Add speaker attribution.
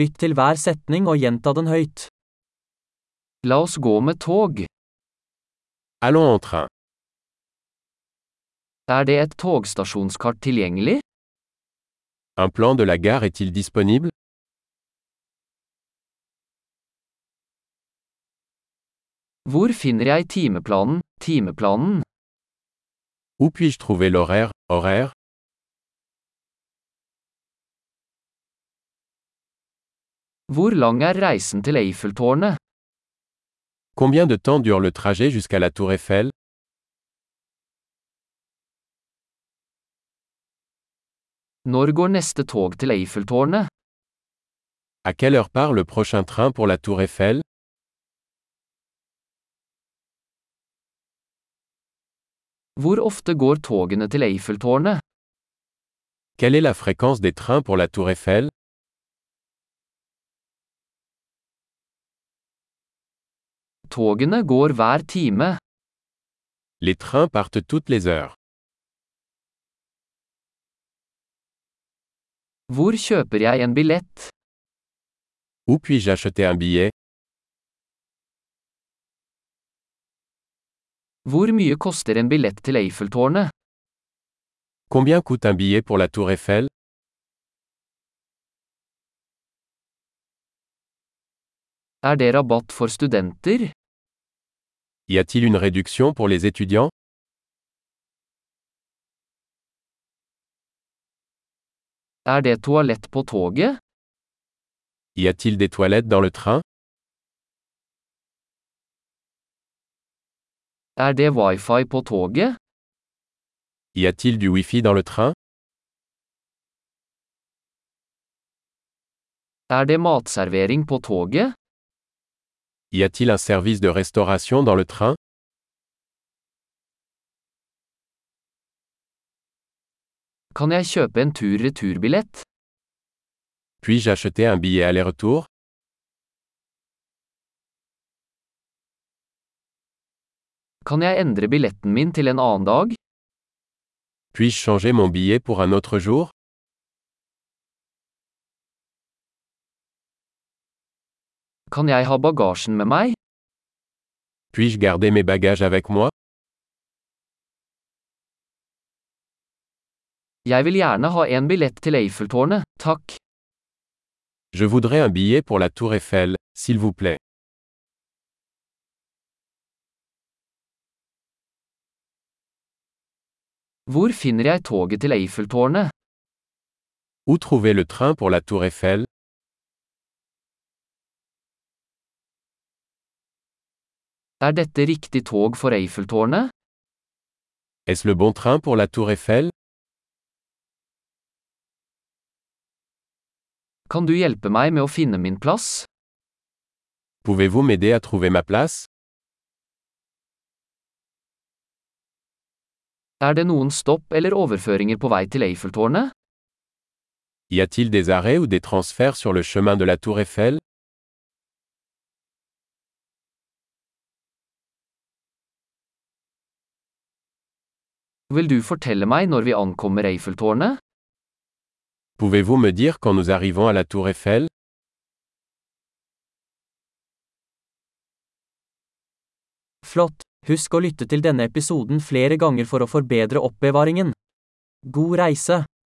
Speaker 1: Lytt til hver setning og gjenta den høyt. La oss gå med tog.
Speaker 2: Allons en train.
Speaker 1: Er det et togstasjonskart tilgjengelig?
Speaker 2: Un plan de la gare est-il disponible
Speaker 1: Hvor finner jeg timeplanen, timeplanen?
Speaker 2: Où puis-je trouver l'horaire, horaire
Speaker 1: Hvor lang er reisen til Eiffeltårnet?
Speaker 2: Combien de temps dure le trajet jusqu'à la Tour Eiffel
Speaker 1: Når går neste tog til Eiffeltårnet?
Speaker 2: À quelle heure part le prochain train pour la Tour Eiffel
Speaker 1: Hvor ofte går togene til Eiffeltårnet?
Speaker 2: Quelle est la fréquence des trains pour la Tour Eiffel
Speaker 1: Togene går hver time.
Speaker 2: Les trains partent toutes les heures.
Speaker 1: Hvor kjøper jeg en billett?
Speaker 2: Où puis-je acheter un billet
Speaker 1: Hvor mye koster en billett til Eiffeltårnet?
Speaker 2: Combien coûte un billet pour la Tour Eiffel
Speaker 1: Er det rabatt for studenter?
Speaker 2: Y a-t-il une réduction pour les étudiants
Speaker 1: Er det toalett på toget?
Speaker 2: Y a-t-il des toilettes dans le train
Speaker 1: Er det wifi på toget?
Speaker 2: Y a-t-il du Wi-Fi dans le train
Speaker 1: Er det matservering på toget?
Speaker 2: Y a-t-il un service de restauration dans le train
Speaker 1: Kan jeg kjøpe en tur-returbillett?
Speaker 2: Puis-je acheter un billet aller-retour
Speaker 1: Kan jeg endre billetten min til en annen dag?
Speaker 2: Puis-je changer mon billet pour un autre jour
Speaker 1: Kan jeg ha bagasjen med meg?
Speaker 2: Puis-je garder mes bagages avec moi
Speaker 1: Jeg vil gjerne ha en billett til Eiffeltårnet, takk.
Speaker 2: Je voudrais un billet pour la Tour Eiffel, s'il vous plaît.
Speaker 1: Hvor finner jeg toget til Eiffeltårnet?
Speaker 2: Où trouver le train pour la Tour Eiffel
Speaker 1: Er dette riktig tog for Eiffeltårnet?
Speaker 2: Est-ce le bon train pour la Tour Eiffel
Speaker 1: Kan du hjelpe meg med å finne min plass?
Speaker 2: Pouvez-vous m'aider à trouver ma place
Speaker 1: Er det noen stopp eller overføringer på vei til Eiffeltårnet?
Speaker 2: Y a-t-il des arrêts ou des transferts sur le chemin de la Tour Eiffel
Speaker 1: Vil du fortelle meg når vi ankommer Eiffeltårnet?
Speaker 2: Pouvez-vous me dire quand nous arrivons à la Tour Eiffel
Speaker 1: Flott! Husk å lytte til denne episoden flere ganger for å forbedre oppbevaringen. God reise!